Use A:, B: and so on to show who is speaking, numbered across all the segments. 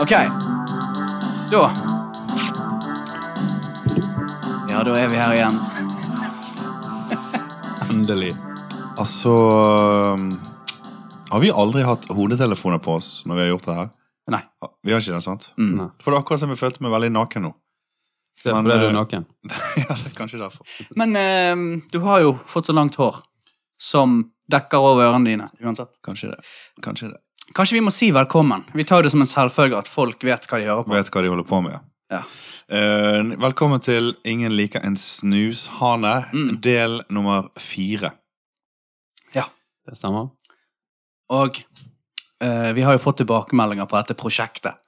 A: OK. Da Ja, da er vi her igjen.
B: Endelig. Altså Har vi aldri hatt hodetelefoner på oss når vi har gjort det her?
A: Nei.
B: Vi har ikke det, sant?
A: Mm.
C: Nei.
B: For det er akkurat som jeg følte meg veldig naken nå.
C: Det er
B: Men,
C: fordi du
B: eh,
C: er naken.
B: ja, det er kanskje derfor.
A: Men eh, du har jo fått så langt hår som dekker over ørene dine. uansett.
B: Kanskje det. Kanskje det.
A: Kanskje vi må si velkommen. Vi tar det som en selvfølge at folk vet hva de hører på.
B: Vet hva de holder på med.
A: Ja.
B: Eh, velkommen til Ingen liker en snushane,
A: Mm.
B: del nummer fire.
C: Det stemmer.
A: Og eh, vi har jo fått tilbakemeldinger på dette prosjektet.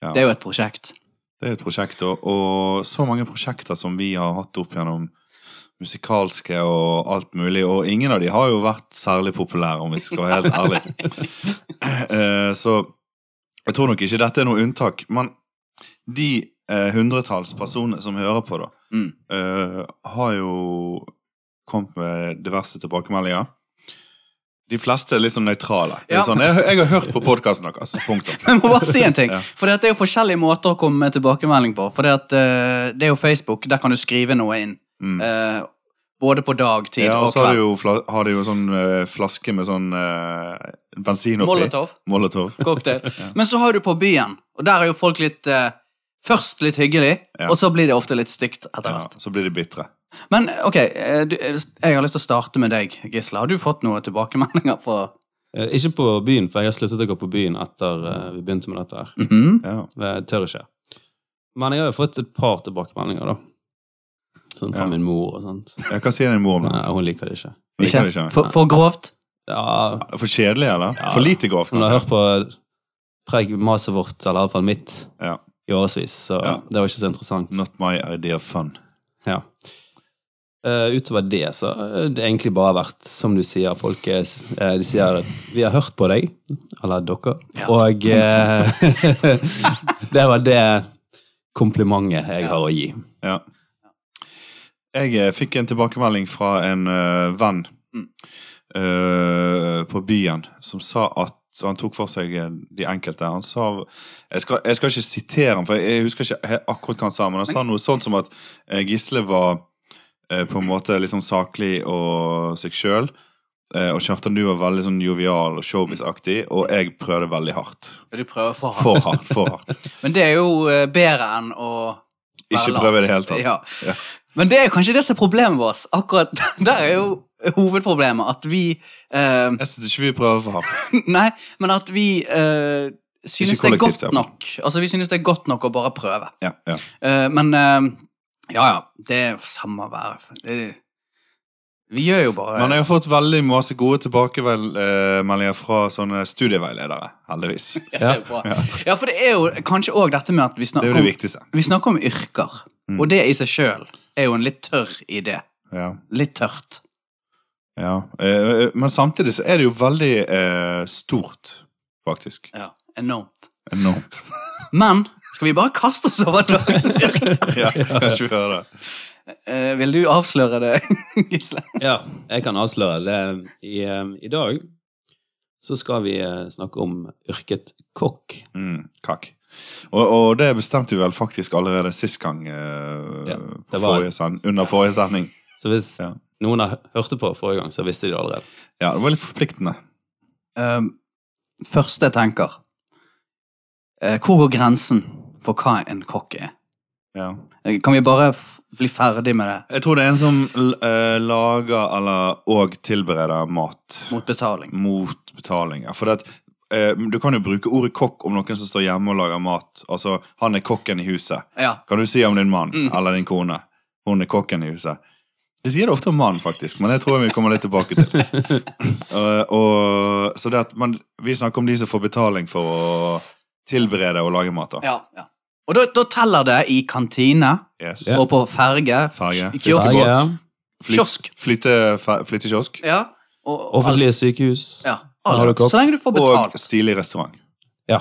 B: Ja.
A: Det er jo et prosjekt.
B: Det er et prosjekt, og, og så mange prosjekter som vi har hatt opp gjennom musikalske og alt mulig, og ingen av de har jo vært særlig populære, om vi skal være helt ærlige. Eh, så jeg tror nok ikke dette er noe unntak, men de eh, hundretalls personene som hører på, da,
A: Mm.
B: eh, har jo kommet med diverse tilbakemeldinger. De fleste er litt sånn nøytrale. Det er
A: Ja.
B: Sånn, jeg, jeg har hørt på podkasten deres. altså, Punktum.
A: Jeg må bare si en ting.
B: Ja.
A: For det er jo forskjellige måter å komme med tilbakemelding på. For det er jo Facebook. Der kan du skrive noe inn.
B: Mm.
A: eh, både på dagtid
B: Ja, og
A: og
B: så har de
A: kveld.
B: jo, fla har de jo sånn eh, flaske med sånn eh, bensin oppi.
A: Molotov.
B: Molotov.
A: Cocktail. Men så har du på byen, og der er jo folk litt eh, Først litt hyggelig,
B: Ja.
A: og så blir det ofte litt stygt etter
B: Ja,
A: hvert.
B: så blir de bitre.
A: Men ok, eh, du, eh, jeg har lyst til å starte med deg, Gisle. Har du fått noen tilbakemeldinger på
C: Eh, Ikke på byen, for jeg har sluttet å gå på byen etter eh, vi begynte med dette her.
A: Mhm.
B: Ja.
C: Jeg tør ikke. Men jeg har jo fått et par tilbakemeldinger, da. Sånn fra
B: Ja.
C: min mor og sånt.
B: Ja, hva sier din mor om det?
C: Nei, hun liker det ikke.
B: Hun liker det ikke.
A: For, for grovt?
C: Ja,
B: For kjedelig, eller?
C: Ja.
B: For lite grovt?
C: hun har
B: kanskje?
C: hørt på preg-maset vårt, eller iallfall mitt,
B: Ja.
C: i årevis, så
B: Ja.
C: det var ikke så interessant.
B: Not my idea of fun.
C: Ja. Eh, utover det, så har det egentlig bare vært, som du sier, folk er, eh, de sier at vi har hørt på deg, eller dere,
A: Ja.
C: og eh, det var det komplimentet jeg har å gi.
B: Ja. Jeg eh, fikk en tilbakemelding fra en eh, venn
A: Mm.
B: eh, på byen som sa at så han tok for seg eh, de enkelte. Han sa Jeg skal, jeg skal ikke sitere ham, for jeg husker ikke he- akkurat hva han sa, men han sa noe sånt som at eh, Gisle var eh, på en måte litt sånn saklig og seg sjøl. Og Kjartan, du var veldig sånn jovial og showbiz-aktig, og jeg prøvde veldig hardt.
A: Du prøver for hardt.
B: For hardt, for hardt.
A: Men det er jo eh, bedre enn å være
B: Ikke
A: lat.
B: prøve i det hele tatt.
A: Ja.
B: Ja.
A: Men det er kanskje det som er problemet vårt. Akkurat Der er jo hovedproblemet at vi eh,
B: Jeg syns ikke vi prøver for hardt.
A: Nei, men at vi eh, synes
B: Ikke
A: det er
B: kollektivt,
A: godt
B: i hvert
A: nok. Altså, vi synes det er godt nok å bare prøve.
B: Ja, ja.
A: Eh, men eh, ja, ja, det er samme været. Det- Vi gjør jo bare
B: Men jeg har fått veldig masse gode tilbakemeldinger fra sånne studieveiledere, heldigvis.
A: ja, det er bra. ja, for det er jo kanskje òg dette med at vi
B: Det er
A: snakker,
B: jo det viktigste.
A: Om, vi snakker om yrker,
B: Mm.
A: og det i seg sjøl er jo en litt tørr idé.
B: Ja,
A: Litt tørt.
B: ja. Eh, Men samtidig så er det jo veldig eh, stort, faktisk.
A: Ja, Enormt.
B: Enormt.
A: Men skal vi bare kaste oss over dagens yrke?
B: Ja, kan ikke høre det.
A: Eh, vil du avsløre det, Gisle?
C: Ja, jeg kan avsløre det. I, eh, i dag så skal vi eh, snakke om yrket kokk.
B: Mm, kakk. Og, og det bestemte vi vel faktisk allerede sist gang, eh,
C: Ja,
B: på
C: det var-
B: forrige send, under forrige sending.
C: Så hvis
B: Ja.
C: noen har hørte på forrige gang, så visste de det allerede.
B: Ja, det var litt forpliktende.
A: Um, første jeg tenker eh, Hvor går grensen for hva en kokk er?
B: Ja.
A: Eh, Kan vi bare f bli ferdig med det
B: Jeg tror det er en som l- eh, lager eller og tilbereder mat.
A: mot betaling?
B: Mot betaling, ja. For det at, eh, du kan jo bruke ordet kokk om noen som står hjemme og lager mat. Altså, han er kokken i huset.
A: Ja.
B: Kan du si om din mann
A: Mm.
B: eller din kone? Hun er kokken i huset. De sier det ofte om mann, faktisk, men det tror jeg vi kommer litt tilbake til. Eh, og, så det at, men vi snakker om de som får betaling for å tilberede og lage mat. da.
A: ja, ja. Og da, da teller det i kantine
B: Yes.
A: og på ferge. f-
B: Ferge,
A: Kiosk.
B: fiskebåt.
C: Ja,
B: Flyt-
A: Kiosk.
B: flytte- fe- Flyttekiosk.
A: Ja, og,
C: Offentlige sykehus.
A: alt. Ja,
C: Har du
A: alt.
C: kokk?
A: Så lenge du får
B: Og
A: betalt.
B: stilig restaurant.
C: Ja,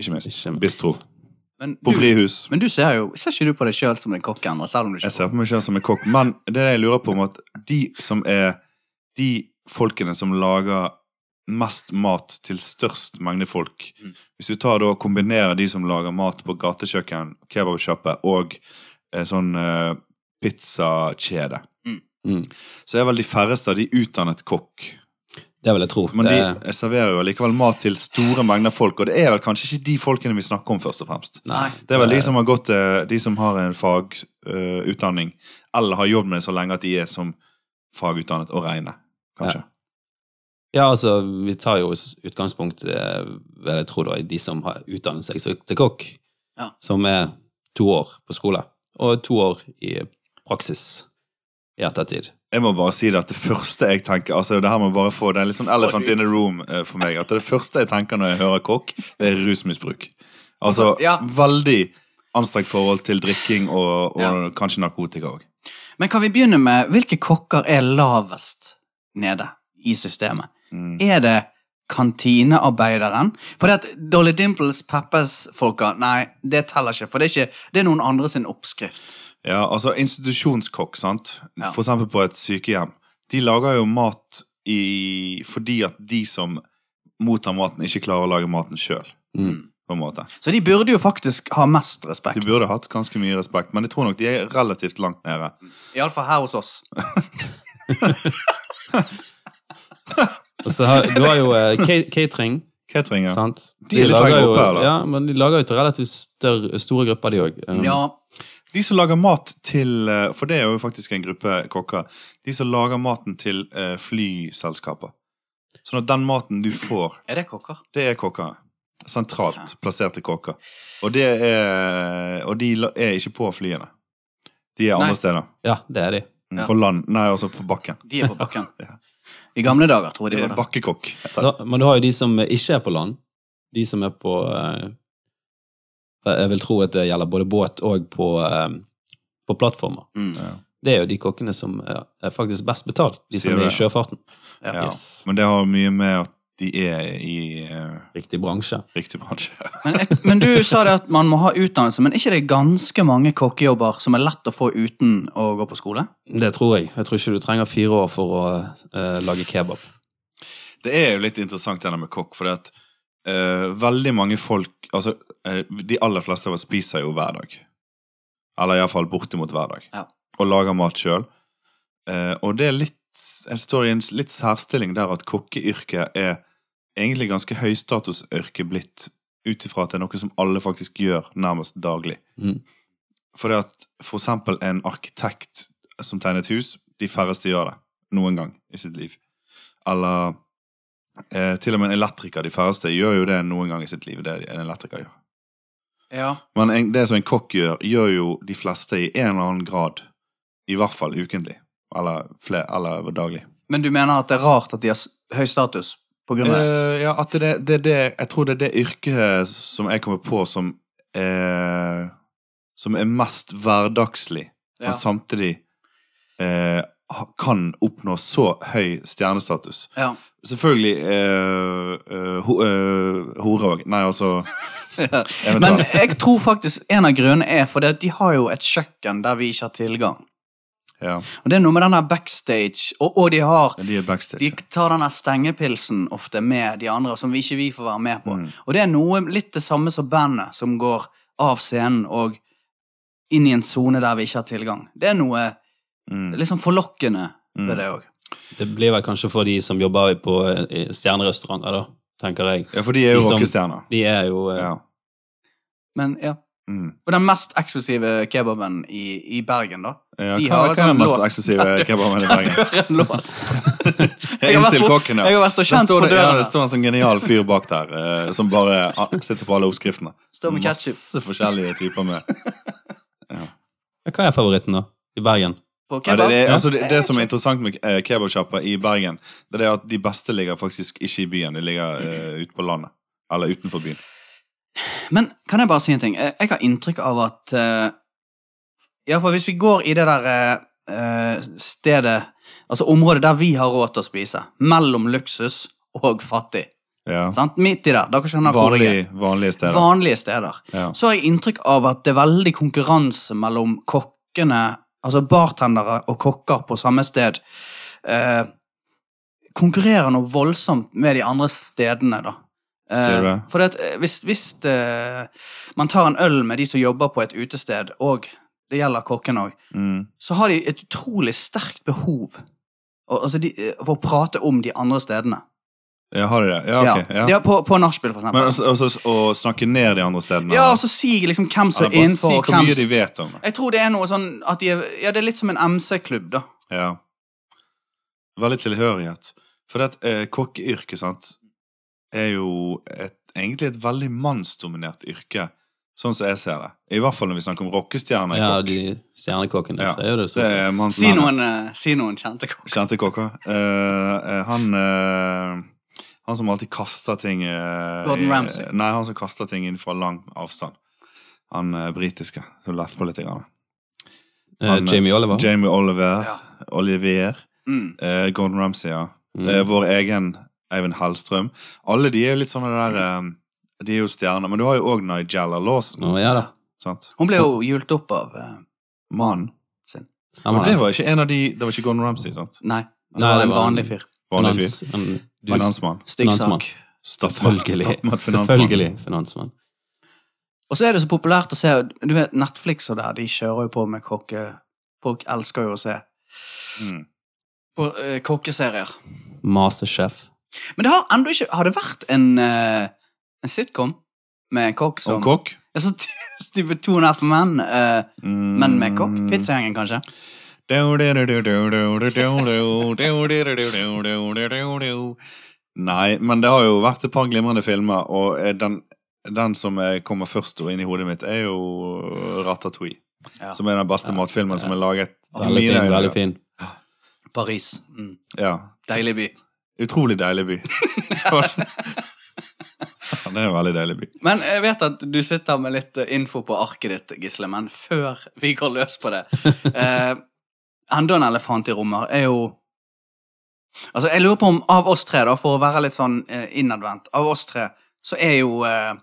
B: Ikke minst.
C: ikke minst.
B: Bistro.
A: Men
B: På
A: du,
B: frihus.
A: men du ser jo Ser ikke du på deg sjøl som en kokk ennå, selv om du
B: Jeg
A: ikke
B: ser på meg selv som en kokk, men det er det jeg lurer på om at de som er de folkene som lager mest mat til størst mengde folk.
A: Mm.
B: Hvis du tar da og kombinerer de som lager mat på gatekjøkken, kebabsjappe og eh, sånn eh, pizzakjede,
C: Mm.
B: så er vel de færreste av de utdannet kokk.
C: Det vil jeg tro. Eh,
B: Men de
C: Det-
B: serverer jo likevel mat til store mengder folk, og det er vel kanskje ikke de folkene vi snakker om, først og fremst.
A: Nei.
B: Det er vel de som har gått eh, De som har en fagutdanning, eller har jobbet med det så lenge at de er som fagutdannet å regne, kanskje.
C: Ja, altså, vi tar jo s- utgangspunkt, eh, vil jeg tro, da, i de som har utdannet seg så- til kokk,
A: Ja.
C: som er to år på skole, og to år i praksis i ettertid.
B: Jeg må bare si det at det første jeg tenker altså det her må bare få, det er litt sånn elephant in the room eh, for meg. at Det første jeg tenker når jeg hører kokk, det er rusmisbruk. Altså
A: Ja.
B: veldig anstrengt forhold til drikking og, og
A: Ja.
B: kanskje narkotika òg.
A: Men kan vi begynne med hvilke kokker er lavest nede i systemet?
B: Mm.
A: Er det kantinearbeideren? For det at Dolly Dimples Peppers-folka, nei, det teller ikke. For det er, ikke, det er noen andre sin oppskrift.
B: Ja, altså institusjonskokk, sant.
A: Ja.
B: For eksempel på et sykehjem. De lager jo mat i, fordi at de som mottar maten, ikke klarer å lage maten sjøl.
C: Mm.
B: På en måte.
A: Så de burde jo faktisk ha mest respekt.
B: De burde hatt ganske mye respekt, men jeg tror nok de er relativt langt nede.
A: Iallfall her hos oss.
C: Og så har, du har jo eh, ca- catering,
B: Catering, ja.
C: sant?
B: De er litt høyere
C: jo,
B: oppe her, da.
C: ja, men de lager jo til relativt større, store grupper, de òg.
B: Mm.
A: Ja,
B: De som lager mat til eh, For det er jo faktisk en gruppe kokker. De som lager maten til eh, flyselskaper. Sånn at den maten du
C: Mm.
B: får,
A: er det kokker?
B: det er kokker. Sentralt plasserte kokker. Og, det er, og de la- er ikke på flyene. De er andre
A: Nei.
B: steder.
C: ja, det er de.
B: Mm,
A: Ja.
B: På land. Nei, altså på bakken.
A: De er på bakken.
B: Ja.
A: I gamle dager, tror jeg
B: Det
A: de
B: er
A: var det.
B: bakkekokk.
C: Så, men du har jo de som ikke er på land. De som er på eh, Jeg vil tro at det gjelder både båt og på, eh, på plattformer.
A: Mm.
C: Det er jo de kokkene som eh, er faktisk best betalt, de
B: Sier
C: som
B: det.
C: er i sjøfarten.
A: Ja.
B: Ja.
C: Yes.
B: Men det har mye med at de er i eh,
C: Riktig bransje.
B: riktig bransje.
A: Men, et, men du sa det at man må ha utdannelse, men er ikke det ganske mange kokkejobber som er lett å få uten å gå på skole?
C: Det tror jeg. Jeg tror ikke du trenger fire år for å eh, lage kebab.
B: Det er jo litt interessant denne med kokk, fordi at eh, veldig mange folk Altså, eh, de aller fleste av oss spiser jo hver dag. Eller iallfall bortimot hver dag.
A: Ja.
B: Og lager mat sjøl. og det er litt Jeg står i en s- litt særstilling der at kokkeyrket er egentlig ganske høystatusyrke blitt, ut ifra at det er noe som alle faktisk gjør nærmest daglig.
C: Mm.
B: Fordi at for eksempel en arkitekt som tegner et hus, de færreste gjør det noen gang i sitt liv. Eller eh, til og med en elektriker, de færreste, gjør jo det noen gang i sitt liv. det en elektriker gjør.
A: Ja.
B: Men en, det som en kokk gjør, gjør jo de fleste i en eller annen grad. I hvert fall ukentlig. Eller, fle- eller daglig.
A: Men du mener at det er rart at de har s- høy status på grunn av det?
B: Eh, ja, at det, det, det, jeg tror det er det yrket som jeg kommer på som eh, Som er mest hverdagslig,
A: Ja.
B: men samtidig eh, ha- kan oppnå så høy stjernestatus.
A: Ja.
B: Selvfølgelig eh, eh, ho, eh, hore òg. Nei, altså
A: Men
B: Eventuelt.
A: jeg tror faktisk en av grunnene er fordi at de har jo et kjøkken der vi ikke har tilgang.
B: ja,
A: Og det er noe med den der backstage, og, og de har
B: De er backstage.
A: de tar den der stengepilsen ofte med de andre, som vi ikke vi får være med på.
B: Mm.
A: Og det er noe litt det samme som bandet, som går av scenen og inn i en sone der vi ikke har tilgang. Det er noe
B: Mm.
A: litt sånn forlokkende
B: Mm.
A: ved det òg.
C: Det blir vel kanskje for de som jobber på eh, stjernerestauranter, da, tenker jeg.
B: Ja, for de er jo
C: de som-
B: rockestjerner.
C: De er jo eh,
B: Ja.
A: Men ja.
B: Mm.
A: Og den mest eksklusive kebaben i, i Bergen, da.
B: ja
A: De
B: hva,
A: har
B: hva er den
A: liksom
B: mest
A: låst-
B: eksklusive kebaben i Bergen?
A: Døren låst. Jeg har vært
B: Inntil
A: på-
B: kokken,
A: Jeg
B: ja.
A: har vært og
B: Der
A: kjent
B: står
A: på
B: det, ja, det
A: døren.
B: står en sånn genial fyr bak der eh, som bare ah, sitter på alle oppskriftene.
A: Står med ketchup
B: Masse forskjellige typer med.
C: Hva er favoritten, da? I Bergen?
A: på
B: Ja, det,
A: kebab.
B: det,
C: Ja.
B: altså, det, det som er interessant med eh, kebabsjapper i Bergen, det er det at de beste ligger faktisk ikke i byen. De ligger eh, ute på landet. Eller utenfor byen.
A: Men kan jeg bare si en ting? Jeg, jeg har inntrykk av at eh, Ja, for hvis vi går i det der eh, eh, stedet Altså området der vi har råd til å spise, mellom luksus og fattig.
B: Ja.
A: Sant? Midt i der. Dere skjønner hvor jeg er.
B: Vanlig, vanlige steder.
A: Vanlige steder.
B: Ja.
A: Så har jeg inntrykk av at det er veldig konkurranse mellom kokkene Altså bartendere og kokker på samme sted. Eh, konkurrerer noe voldsomt med de andre stedene, da.
B: Ser du det?
A: for det at, eh, hvis, hvis eh, man tar en øl med de som jobber på et utested, og det gjelder kokken òg,
B: Mm.
A: så har de et utrolig sterkt behov og, altså de, eh, for å prate om de andre stedene.
B: Ja, har de det? Ja, ok. Ja.
A: De har på, på nachspiel, for
B: Men
A: eksempel.
B: altså, altså, å snakke ned de andre stedene?
A: ja,
B: eller?
A: og så si liksom hvem som
B: Eller
A: er
B: bare si
A: innenfor, og
B: hvor
A: hvem
B: mye
A: som
B: de vet om det.
A: Jeg tror det er noe sånn at de er Ja, det er litt som en MC-klubb, da.
B: Ja. Veldig tilhørighet. For det at, eh, kokkeyrket, sant, er jo et, egentlig et veldig mannsdominert yrke, sånn som jeg ser det. I hvert fall når vi snakker om rockestjerner i
C: Ja,
B: kokk.
C: de stjernekokkene,
B: Ja,
C: så Sånn er jo det
B: Det
C: stort
B: er
C: sett.
B: manns-
A: Si noen, eh, si noen kjente kokker.
B: Kjente kokker. Eh, eh, han eh, Han som alltid kaster ting eh,
A: Gordon
B: i-
A: Ramsay.
B: Nei, han som kaster ting inn fra lang avstand. Han eh, britiske som lefper litt. Grann.
C: Eh,
B: han-
C: Jamie Oliver.
B: Jamie Oliver.
A: Ja.
B: Olivier.
A: Mm.
B: Eh, Gordon Ramsay, ja.
C: Mm.
B: Eh, vår egen Eivind Hellstrøm. Alle de er jo litt sånne der eh, De er jo stjerner. Men du har jo òg Nigella Lawson.
C: Å, ja da.
B: Sant?
A: Hun ble jo hjult opp av eh,
B: Mann.
A: sin.
B: Og
C: Stemmer
B: det
C: det.
B: var ikke en av de Det var ikke Gordon Ramsay, sant?
A: Nei, det
C: Nei,
A: var
C: det
A: en
C: var en-
A: vanlig fyr.
B: Vanlig fyr.
C: Finans- en- du-
B: Finansmann.
A: Stygg
C: Finansmann.
A: sak.
B: Stappmatt-
C: Selvfølgelig.
B: stappmatt finansmann.
C: Selvfølgelig finansmann.
A: Og så er det så populært å se Du vet, Netflix og der, de kjører jo på med kokke... Folk elsker jo å se
B: Mm.
A: på eh, kokkeserier.
C: Masterchef.
A: Men det har ennå ikke Har det vært en, eh, en sitcom med en kokk som
B: Og kokk.
A: Ja, sånn type to and a half men, eh,
B: Mm.
A: men med kokk? Pizzagjengen, kanskje?
B: Nei, men det har jo vært et par glimrende filmer, og eh, den, den som eh, kommer først og inn i hodet mitt, er jo Ratatouille.
A: Ja.
B: Som er den beste matfilmen som er laget. i
C: Veldig
B: mine
C: fin.
B: øyne.
C: veldig fin.
A: Paris. Mm.
B: Ja.
A: Deilig by.
B: Utrolig deilig by. ja, det er en veldig deilig by.
A: Men jeg vet at du sitter med litt eh, info på arket ditt, Gisle, men før vi går løs på det eh, Enda en elefant i rommet er jo Altså, jeg lurer på om av oss tre, da, for å være litt sånn eh, innadvendt Av oss tre så er jo eh,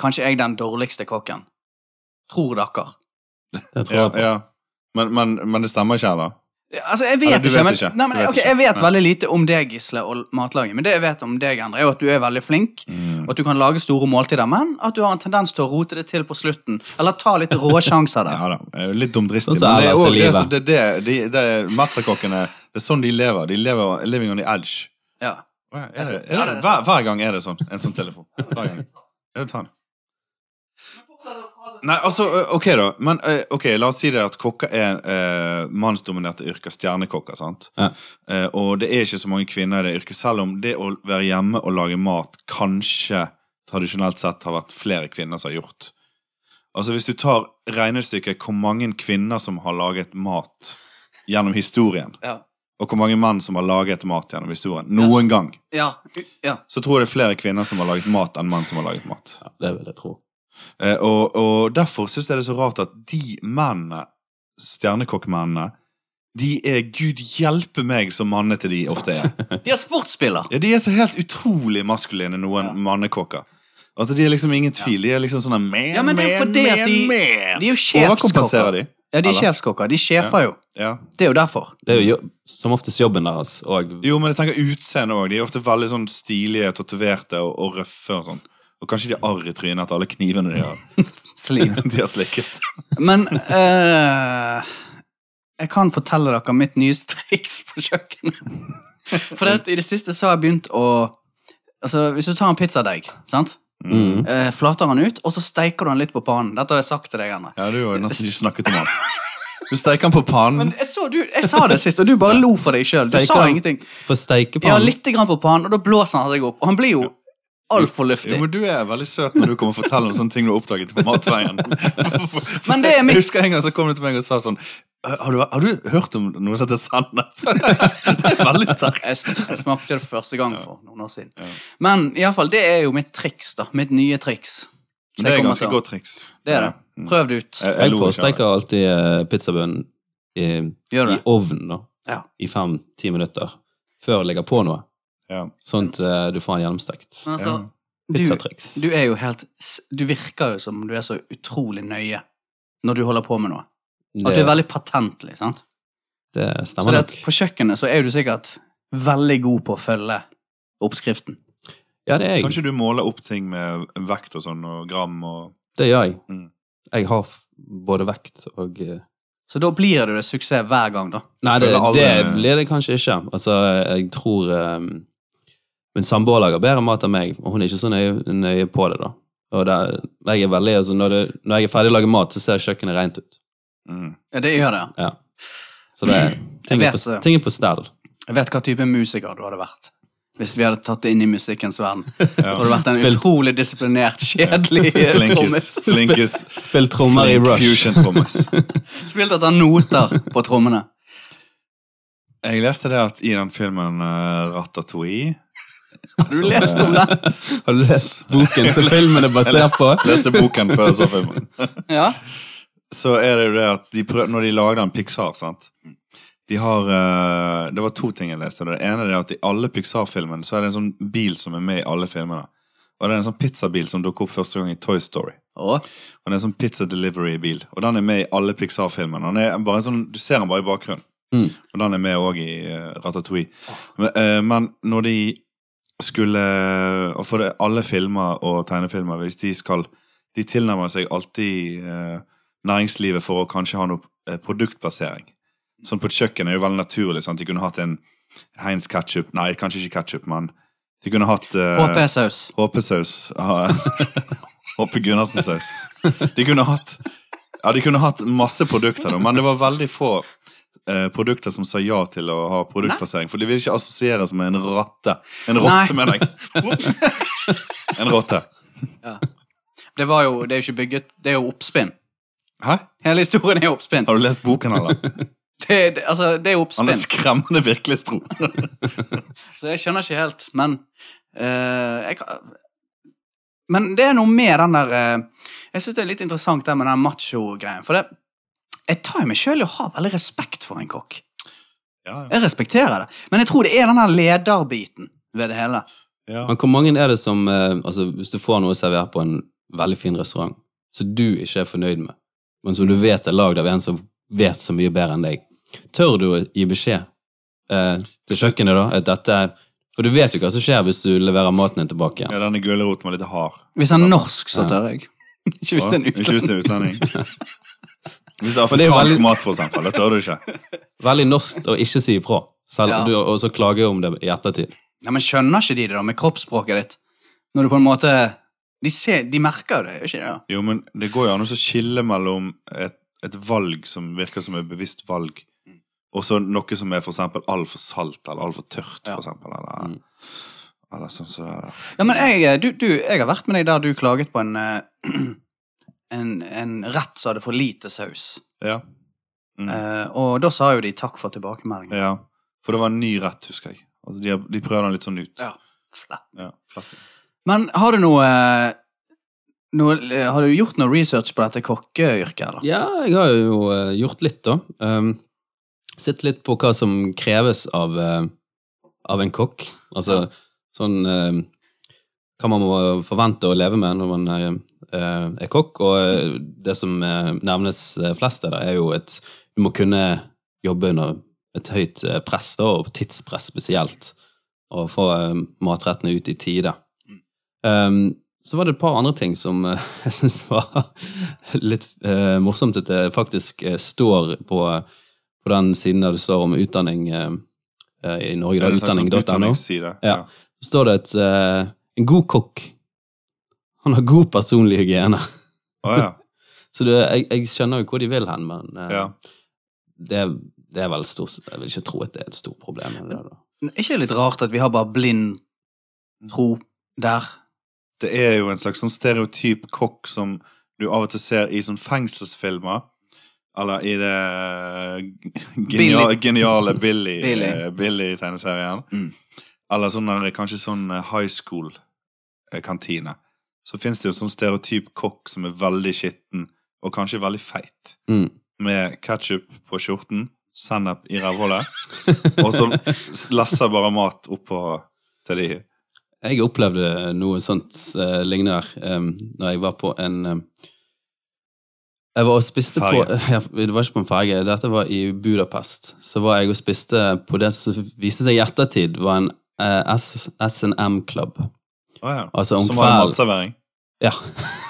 A: kanskje jeg den dårligste kokken. Tror dere.
C: Det tror
B: Ja,
C: jeg på.
B: ja. Men, men, men det stemmer ikke, eller?
A: Ja, Altså, jeg vet,
B: Eller, du
A: ikke,
B: vet
A: men,
B: ikke.
A: Nei, men,
B: Du vet
A: ok,
B: ikke.
A: Jeg vet
B: Nei.
A: veldig lite om deg, Gisle, og matlaging. Men det jeg vet om deg, Endre, er jo at du er veldig flink,
C: Mm.
A: og at du kan lage store måltider, men at du har en tendens til å rote det til på slutten. Eller ta litt rå sjanser der.
B: Ja da, eh, litt dumdristig.
C: Og så
B: Men det er
C: ellers i
B: også, det, er så-
C: livet.
B: det, det, det, det er mesterkokkene Det er sånn de lever. De lever living on the edge.
A: Ja.
B: Er det, er
A: Ja,
B: det,
A: det-
B: hver, hver gang er det sånn. En sånn telefon. Hver gang. Ja, ta den. Nei, altså, ø, ok da. Men ø, ok, la oss si det at kokker er eh, mannsdominerte yrker. Stjernekokker, sant.
C: Ja.
B: Eh, og det er ikke så mange kvinner i det yrket, selv om det å være hjemme og lage mat kanskje tradisjonelt sett har vært flere kvinner som har gjort. Altså, hvis du tar regnestykket hvor mange kvinner som har laget mat gjennom historien,
A: Ja.
B: og hvor mange menn som har laget mat gjennom historien, noen gang
A: Ja. ja.
B: så tror jeg det er flere kvinner som har laget mat, enn menn som har laget mat.
C: Ja, det vil jeg tro.
B: Eh, og, og derfor syns jeg det er så rart at de mennene, stjernekokkmennene, de er Gud hjelpe meg så mannete de ofte er.
A: De er sportsspiller.
B: Ja, de er så helt utrolig maskuline, noen
A: Ja.
B: mannekokker. Altså, De er liksom ingen tvil. De er liksom sånn men,
A: Ja, men det er jo
B: men,
A: fordi at
B: men,
A: de-
B: men.
A: De er jo sjefskokker.
B: Overkompenserer de?
A: Ja, de er
B: Eller?
A: sjefskokker. De sjefer jo.
B: Ja.
A: Det er jo derfor.
C: Det er jo jo- som oftest jobben deres, og
B: Jo, men jeg tenker utseende òg. De er ofte veldig sånn stilige, tatoverte og, og røffe. Og sånn. Og kanskje de har arr i trynet etter alle knivene de har, de har slikket.
A: Men eh, jeg kan fortelle dere mitt nyeste triks på kjøkkenet. For det, at i det siste så har jeg begynt å Altså, Hvis du tar en pizzadeig, sant?
C: mm.
A: Eh, flater han ut, og så steiker du han litt på pannen. Dette har jeg sagt til deg, Erne.
B: Ja, du har jo nesten ikke snakket om alt. Du steiker den på pannen.
A: Men jeg, så, du, jeg sa det sist, og du bare lo for deg sjøl. Du
C: Steiker
A: sa
C: han?
A: ingenting.
C: For
A: Ja,
C: steikepannen
A: litt grann på pannen, og da blåser han seg opp. Og han blir jo altfor
B: Jo,
A: luftig.
B: men Du er veldig søt når du kommer og forteller om sånne ting du har oppdaget på matveien.
A: Men det er mitt.
B: Jeg husker en gang så kom du til meg og sa sånn Har du, har du hørt om noe som heter sannhet? Det er veldig sterkt.
A: Jeg, sm jeg smakte det første gang for noen år siden.
B: Ja.
A: Men i alle fall, det er jo mitt triks, da. Mitt nye triks. Så
B: Det
A: jeg
B: er et
A: kommer
B: ganske
A: til å-
B: godt triks.
A: Det er det.
B: Ja.
A: Prøv det ut.
B: Jeg,
C: Jeg
B: lo ikke av det.
C: foresteker alltid eh, pizzabunnen i,
A: Gjør
C: i
A: det.
C: ovnen da,
A: Ja.
C: i fem-ti minutter før jeg legger på noe,
B: Ja.
C: sånn at eh, du får den gjennomstekt.
A: Men altså, du,
C: Pizzatriks.
A: du er jo helt s- Du virker jo som du er så utrolig nøye når du holder på med noe. At du er
C: det,
A: veldig patentlig, sant?
C: det
A: Så
C: stemmer
A: det at
C: nok.
A: på kjøkkenet så er jo du sikkert veldig god på å følge oppskriften.
C: Ja, det er jeg.
B: Kanskje du måler opp ting med vekt og sånn, og gram og
C: Det gjør jeg.
B: Mm.
C: Jeg har f- både vekt og eh,
A: Så da blir det jo suksess hver gang, da.
C: Nei, det,
B: Føler alle-
C: det blir det kanskje ikke. Altså, jeg tror um, Min samboer lager bedre mat enn meg, og hun er ikke så nøye, nøye på det, da. Og det, jeg er veldig, altså, når, det, når jeg er ferdig å lage mat, så ser kjøkkenet rent ut.
B: mm.
A: Ja, det gjør det.
C: Ja. Så det, ting,
A: Jeg
C: er på,
A: vet det.
C: ting er på stell.
A: Jeg vet hva type musiker du hadde vært. Hvis vi hadde tatt det inn i musikkens verden.
B: Ja.
A: Hadde du vært en
C: Spilt.
A: utrolig disiplinert, kjedelig trommis.
B: Flinkest. Flinkest.
C: Spill trommer i Rush.
B: Fusion trommis.
A: Spilt etter noter på trommene.
B: Jeg leste det at i den filmen eh, Ratatouille
A: Har du lest om det?
C: Har du lest boken som filmen er basert på?
B: Leste boken før jeg så filmen.
A: Ja.
B: Så er det jo det at de prøv, når de lagde en Pixar, sant de har, eh, Det var to ting jeg leste. Det ene er at i alle Pixar-filmene så er det en sånn bil som er med i alle filmene. Og det er en sånn pizzabil som dukker opp første gang i Toy Story.
A: Og
B: Han er en sånn pizza delivery-bil, og den er med i alle Pixar-filmene. Han er bare sånn, Du ser han bare i bakgrunnen,
C: Mm.
B: og den er med òg i eh, Ratatouille. Men, eh, men når de skulle Og for det, alle filmer og tegnefilmer, hvis de skal De tilnærmer seg alltid eh, næringslivet for å kanskje ha noe eh, produktplassering. Sånn på et kjøkken er det jo veldig naturlig. sant? De kunne hatt en Heinz ketchup Nei, kanskje ikke ketchup, men de kunne hatt eh,
A: HP-saus.
B: HP-saus. Ja, HP Gundersen-saus. De kunne hatt Ja, de kunne hatt masse produkter, da, men det var veldig få eh, produkter som sa ja til å ha produktplassering. For de ville ikke assosieres med en rotte. En rotte,
A: Nei.
B: mener jeg. Ops. En rotte.
A: Det var jo Det er jo ikke bygget Det er jo oppspinn.
B: Hæ?
A: Hele historien er oppspinn.
B: Har du lest boken, eller?
A: Det, det, altså, det er
B: Han er
A: oppspinn.
B: skremmende virkeligstro.
A: Så jeg skjønner ikke helt, men eh, jeg, kan- Men det er noe med den der eh, Jeg syns det er litt interessant det med den macho-greien. For det, jeg tar jo meg sjøl i å ha veldig respekt for en kokk.
B: Ja, ja.
A: Jeg respekterer det. Men jeg tror det er den der lederbiten ved det hele.
B: ja.
C: Men hvor mange er det som eh, altså, Hvis du får noe servert på en veldig fin restaurant som du ikke er fornøyd med, men som du vet er lagd av en som vet så mye bedre enn deg, tør du å gi beskjed eh, til kjøkkenet da at dette er For du vet jo hva som skjer hvis du leverer maten din tilbake igjen.
B: ja denne gulroten var litt hard.
A: Hvis han er norsk, så
C: Ja.
A: tør jeg. ikke hvis det er en
B: Ikke hvis
A: utlending.
B: det er utlending. Hvis det er
C: Men det er jo
B: afrikansk
C: veldig-
B: mat, for eksempel. Det tør du ikke.
C: Veldig norsk å ikke si ifra, selv,
A: Ja.
C: du, og så klage om det i ettertid.
A: Ja, men skjønner ikke de det da med kroppsspråket ditt? Når du på en måte De, ser, de merker jo det, gjør ikke det? da?
B: Jo, men det går jo an å skille mellom et, et valg som virker som et bevisst valg,
A: Mm.
B: og så noe som er for eksempel altfor salt eller altfor tørt,
A: Ja.
B: for eksempel. Eller,
C: Mm.
B: eller sånn som det er. da.
A: Ja, men jeg, eh, du, du, jeg har vært med deg der du klaget på en, eh, en, en rett som hadde for lite saus.
B: Ja. Mm.
A: Eh, og da sa jo de takk for tilbakemeldingen.
B: ja. For det var en ny rett, husker jeg. Altså, de, har- de prøver den litt sånn ut.
A: Ja. Flatt.
B: Ja, flott.
A: Men har du noe, eh, noe eh, Har du gjort noe research på dette kokkeyrket, eller?
C: Ja, jeg har jo eh, gjort litt, da. Um, sett litt på hva som kreves av, eh, av en kokk. Altså sånn eh, Hva man må forvente å leve med når man eh, eh, er kokk. Og eh, det som eh, nevnes eh, flest der, er jo et Du må kunne jobbe under et høyt eh, press, da, og tidspress spesielt. Og få eh, matrettene ut i tide.
B: Mm.
C: Um, så var det et par andre ting som eh, jeg syns var litt eh, morsomt at det faktisk eh, står på, på den siden der det står om utdanning eh, eh, i Norge,
B: Det er
C: da,
B: en slags sånn
C: utdanning.no.
B: utdanningsside.
C: Ja. Så står det et eh, en god kokk. Han har god personlig hygiene.
B: Å, ja.
C: Så det, jeg, jeg skjønner jo hvor de vil hen, men eh,
B: Ja.
C: det, det er vel stort Jeg vil ikke tro at det er et stort problem. eller det da.
A: Er ikke det litt rart at vi har bare blind tro der?
B: Det er jo en slags sånn stereotyp kokk som du av og til ser i sånn fengselsfilmer. Eller i det genia
A: Billy.
B: geniale Billy,
A: Billy.
B: eh, Billy-tegneserien.
A: Mm.
B: Eller sånn der, kanskje sånn eh, high school-kantine. Så fins det jo sånn stereotyp kokk som er veldig skitten, og kanskje veldig feit.
C: Mm.
B: Med ketsjup på skjorten, sennep i rævhullet, og så lesser bare mat oppå til de.
C: Jeg ehm, opplevde noe sånt eh, lignende der um, når jeg var på en eh, Jeg var og spiste
B: Ferge.
C: på ja, Det var ikke på en ferge, dette var i Budapest. Så var jeg og spiste på det som viste seg i ettertid var en eh, S- S&M Club.
B: Å ja.
C: Altså om
B: Som var en
C: kvelden
B: matservering.
C: ja.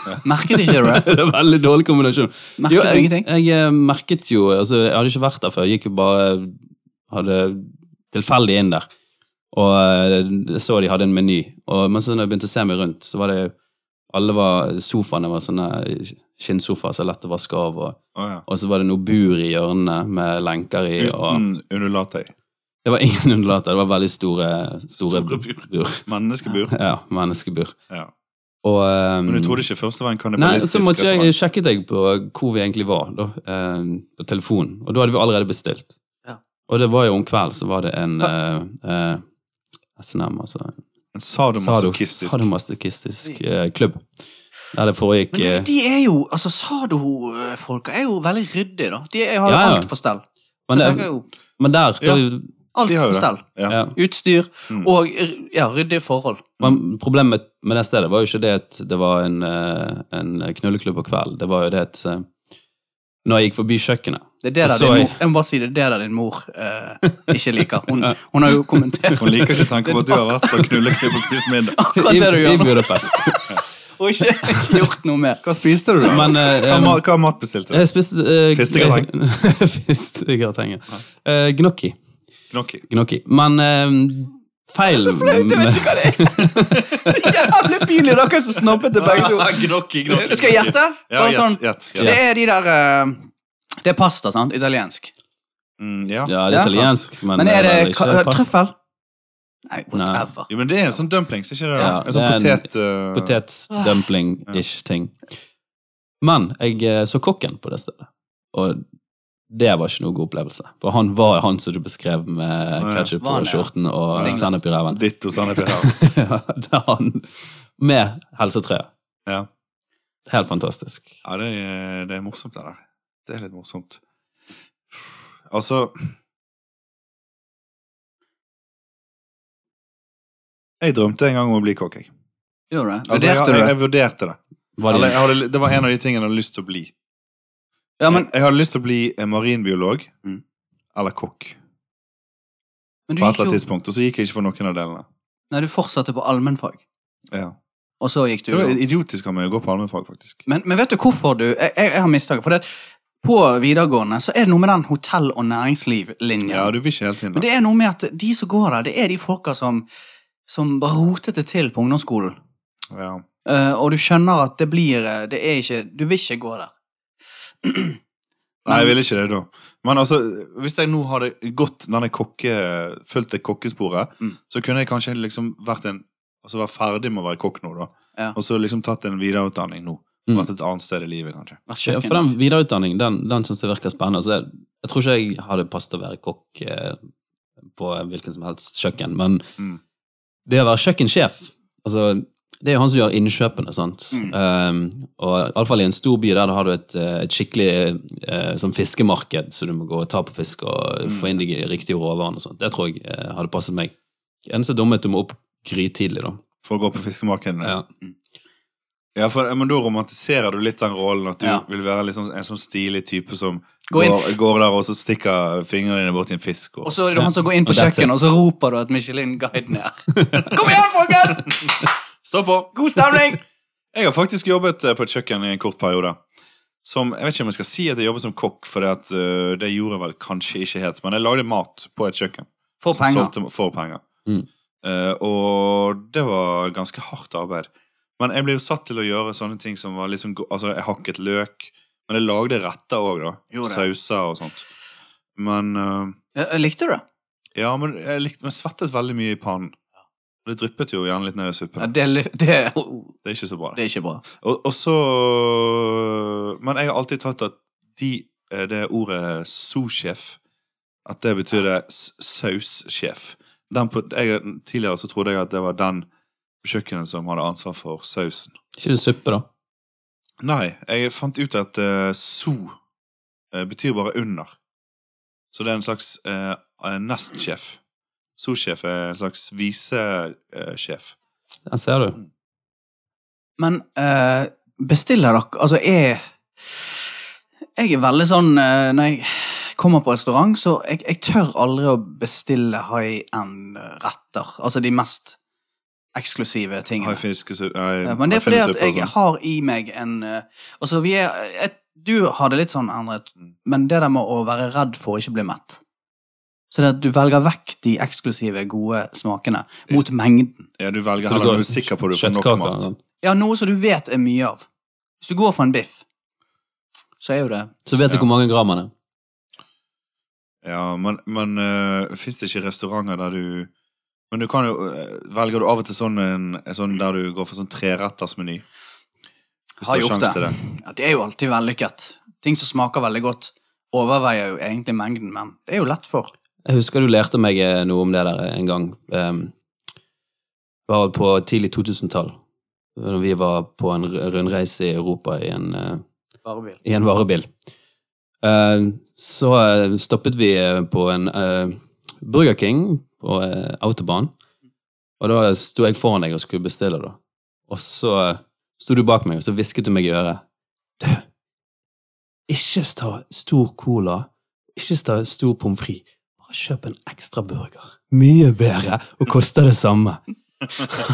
A: Merket ikke det?
C: det er veldig dårlig kombinasjon.
A: Merket
C: Jo,
A: du
C: jeg,
A: ingenting?
C: jeg eh, merket jo altså, Jeg hadde ikke vært der før. Jeg gikk jo bare Hadde tilfeldig inn der. Og eh, jeg så de hadde en meny. Og, men så når jeg begynte å se meg rundt, så var det alle var, sofaene var sånne eh, skinnsofaer som er lett å vaske av. Og,
B: Å ja.
C: og så var det noe bur i hjørnene med lenker i. Og,
B: Uten undulatøy.
C: det var ingen undulater. Det var veldig store, store,
B: Store bur.
C: bur.
B: Menneskebur.
C: Ja, menneskebur.
B: Ja.
C: Og, eh,
B: Men du trodde ikke først det var en
C: Nei, så
B: kannibalistisk
C: måtte jeg
B: restaurant?
C: sjekket jeg på hvor vi egentlig var da, eh, på telefonen, og da hadde vi allerede bestilt.
A: Ja.
C: Og det var jo om kvelden så var det en eh, eh, SNM, altså
B: En
C: sado-
B: sadomasochistisk
C: sadomasochistisk eh, klubb. Der det foregikk
A: Men
C: eh,
A: du, de er jo, altså Sado-folka er jo veldig ryddige, da. De er- har jo
C: Ja, ja.
A: alt på stell. Så
C: men,
A: jeg
C: det,
A: tenker jo
C: men der,
B: Ja.
C: der
A: Alt
B: De har jo
A: på
B: det.
A: stell.
B: Ja.
C: ja.
A: Utstyr
B: Mm.
A: og ja, ryddige forhold.
C: Men problemet med det stedet var jo ikke det at det var en, eh, en knulleklubb på kvelden. Det var jo det at eh, når jeg gikk forbi kjøkkenet
A: Det er det der
C: Så
A: din
C: jeg-
A: mor, jeg må bare si det, er det der din mor eh, ikke liker. Hun, hun har jo kommentert
B: Hun liker ikke tanken på at du har vært på knulleklubb og spist middag.
A: akkurat det du
C: i, i
A: gjør nå,
C: Budapest.
A: og ikke, ikke gjort noe mer.
B: Hva spiste du, da?
C: Men eh,
B: hva,
C: eh,
B: mat- hva mat bestilte du?
C: Jeg spiste uh,
B: Fistegrateng.
C: Fistegratengen. Uh, gnocchi.
B: Gnocchi.
C: Gnocchi. Men uh, feil
A: Så flaut, jeg vet ikke hva det er! Så jævlig pinlig, dere som snobbet det begge to.
B: gnocchi, gnocchi.
A: Skal jeg gjette?
B: Ja,
A: Bare sånn.
B: gjett. gjett,
A: Det
B: gjett.
A: er de der eh, Det er pasta, sant? Italiensk.
B: Mm, ja.
C: Ja, det er
A: Ja.
C: italiensk, men,
A: Men er det
C: vel ikke
A: ka-
C: pasta.
A: trøffel? Nei,
C: Nei.
A: whatever.
B: Jo, men det er en sånn dumplings, ikke det? da?
C: Ja,
B: en sånn
C: det er en
B: potet... eh,
A: Ah.
C: Potetdumpling-ish ting. Men jeg eh, så kokken på det stedet, og det var ikke noe god opplevelse. For han var han som du beskrev med
B: ja.
C: ketsjup
A: Var han,
C: på
A: ja.
C: skjorten og
B: Singlet.
C: sennep i ræven.
B: Ditt og sennep i her.
C: Ja, det er han. Med helsetreet.
B: Ja.
C: Helt fantastisk.
B: Ja, det er, det er morsomt, det der. Det er litt morsomt. Altså Jeg drømte en gang om å bli kokk, jeg.
A: Gjorde du det?
B: Altså, jeg,
A: Vurderte
B: jeg,
A: du det?
B: jeg vurderte det.
C: Var
B: Eller,
C: det,
B: jeg hadde, det var en av de tingene jeg hadde lyst til å bli.
A: Ja, men,
B: jeg, jeg hadde lyst til å bli en marinbiolog
A: Mm.
B: eller kokk
A: men du gikk
B: på et eller annet
A: jo
B: tidspunkt, og så gikk jeg ikke for noen av delene.
A: Nei, du fortsatte på allmennfag,
B: Ja.
A: og så gikk du
B: Det var idiotisk av meg å gå på allmennfag, faktisk.
A: Men, men vet du hvorfor du Jeg, jeg, jeg har mistanke. For det, at på videregående så er det noe med den hotell- og næringslivlinjen.
B: Ja, du vil ikke hele tiden.
A: Men
B: da.
A: det er noe med at de som går der, det er de folka som, som bare rotet det til på ungdomsskolen.
B: Ja.
A: Eh, og du skjønner at det blir eh, Det er ikke Du vil ikke gå der.
B: Nei, jeg ville ikke det da. Men altså, hvis jeg nå hadde gått denne kokke, fulgt det kokkesporet,
A: Mm.
B: så kunne jeg kanskje liksom vært en Altså være ferdig med å være kokk nå, da.
A: Ja.
B: Og så liksom tatt en videreutdanning nå.
C: Mm.
B: Vært et annet sted i livet, kanskje.
A: Vær så
C: Ja,
A: snill.
C: for den videreutdanningen, den, den syns jeg virker spennende. Så jeg, jeg tror ikke jeg hadde passet å være kokk eh, på hvilken som helst kjøkken, men
B: Mm.
C: det å være kjøkkensjef altså, Det er jo han som gjør innkjøpene, sant.
A: Mm.
C: Um, og iallfall i en stor by der da har du et, eh, et skikkelig eh, sånn fiskemarked, så du må gå og ta på fisk og
B: Mm.
C: få inn de riktige råvarene og sånt. Det tror jeg eh, hadde passet meg. Eneste dumme er at du må opp grytidlig, da.
B: For å gå
A: Mm.
B: på fiskemarkedet.
C: Ja.
B: Ja, for, men da romantiserer du litt den rollen at du
A: Ja.
B: vil være litt sånn, en sånn stilig type som
A: Gå inn.
B: går, går der og så stikker fingrene dine bort i en fisk. Og,
A: Og så er det han som går inn på
C: Og that's
A: kjøkkenet,
C: it.
A: og så roper du at Michelin-guiden er her. Kom igjen, folkens!
B: Stå på!
A: God stemning!
B: Jeg har faktisk jobbet eh, på et kjøkken i en kort periode. Som, jeg vet ikke om jeg skal si at jeg jobbet som kokk, for det, at, eh, det gjorde jeg vel kanskje ikke helt. Men jeg lagde mat på et kjøkken.
A: For
B: som
A: penger.
B: solgte for penger.
C: Mm.
B: Eh, og det var ganske hardt arbeid. Men jeg ble jo satt til å gjøre sånne ting som var liksom go- Altså, jeg hakket løk, men jeg lagde retter òg, da.
A: Gjorde det.
B: Sauser og sånt. Men eh,
A: Ja, Likte du det?
B: Ja, men jeg likte Men svettet veldig mye i pannen. Det dryppet jo gjerne litt ned i
A: Ja, det,
B: suppen.
A: det, det
B: Det er ikke så bra.
A: er ikke bra.
B: Og, og så Men jeg har alltid tatt at de, eh, det ordet sous-sjef At det betyr det s- saussjef. Den på- jeg- Tidligere så trodde jeg at det var den på kjøkkenet som hadde ansvar for sausen.
C: Ikke det suppe, da?
B: Nei, jeg fant ut at uh, sous eh, betyr bare under. Så det er en slags eh, eh, nestsjef. Sous-sjef er en slags eh, visesjef.
C: Den ser du.
A: Men eh, bestiller dere Altså, er Jeg er veldig sånn eh, Når jeg kommer på restaurant, så jeg, jeg tør aldri å bestille high end-retter. Altså de mest eksklusive tingene.
B: Har fiskesuppe Nei,
A: Ja, Men det
B: har
A: er fordi at
B: finnesuppe og
A: jeg
B: sånn.
A: har i meg en eh, Altså, vi er jeg, Du har det litt sånn, Endre, men det der med å være redd for å ikke bli mett Så det at du velger vekk de eksklusive, gode smakene mot mengden.
B: Ja, du velger
C: Så det
B: heller
C: går
B: når du er sikker på at du får nok
C: kjøttkaker
B: mat.
C: eller noe.
A: Ja, noe som du vet er mye av. Hvis du går for en biff, så er jo det
C: Så vet du
B: Ja.
C: hvor mange gram han er.
B: Ja, men, men fins det ikke restauranter der du Men du kan jo øh, Velger du av og til sånn, en, en sånn der du går for sånn trerettersmeny? Hvis
A: Har
B: du
A: gjort
B: sjans
A: det. Ja, det er jo alltid vellykket. Ting som smaker veldig godt, overveier jo egentlig mengden, men det er jo lett for.
C: Jeg husker du lærte meg eh, noe om det der eh, en gang. Um, det var på tidlig 2000-tall. Når vi var på en r- rundreise i Europa i en, eh,
A: Varebil.
C: i en varebil. Eh, så eh, stoppet vi eh, på en eh, Burger King på eh, autobahn. Og da sto jeg foran deg og skulle bestille, da. Og så eh, sto du bak meg, og så hvisket du meg i øret. Du, ikke ta stor cola, ikke ta stor pommes frites. Bare kjøp en ekstra burger. Mye bedre, og koster det samme.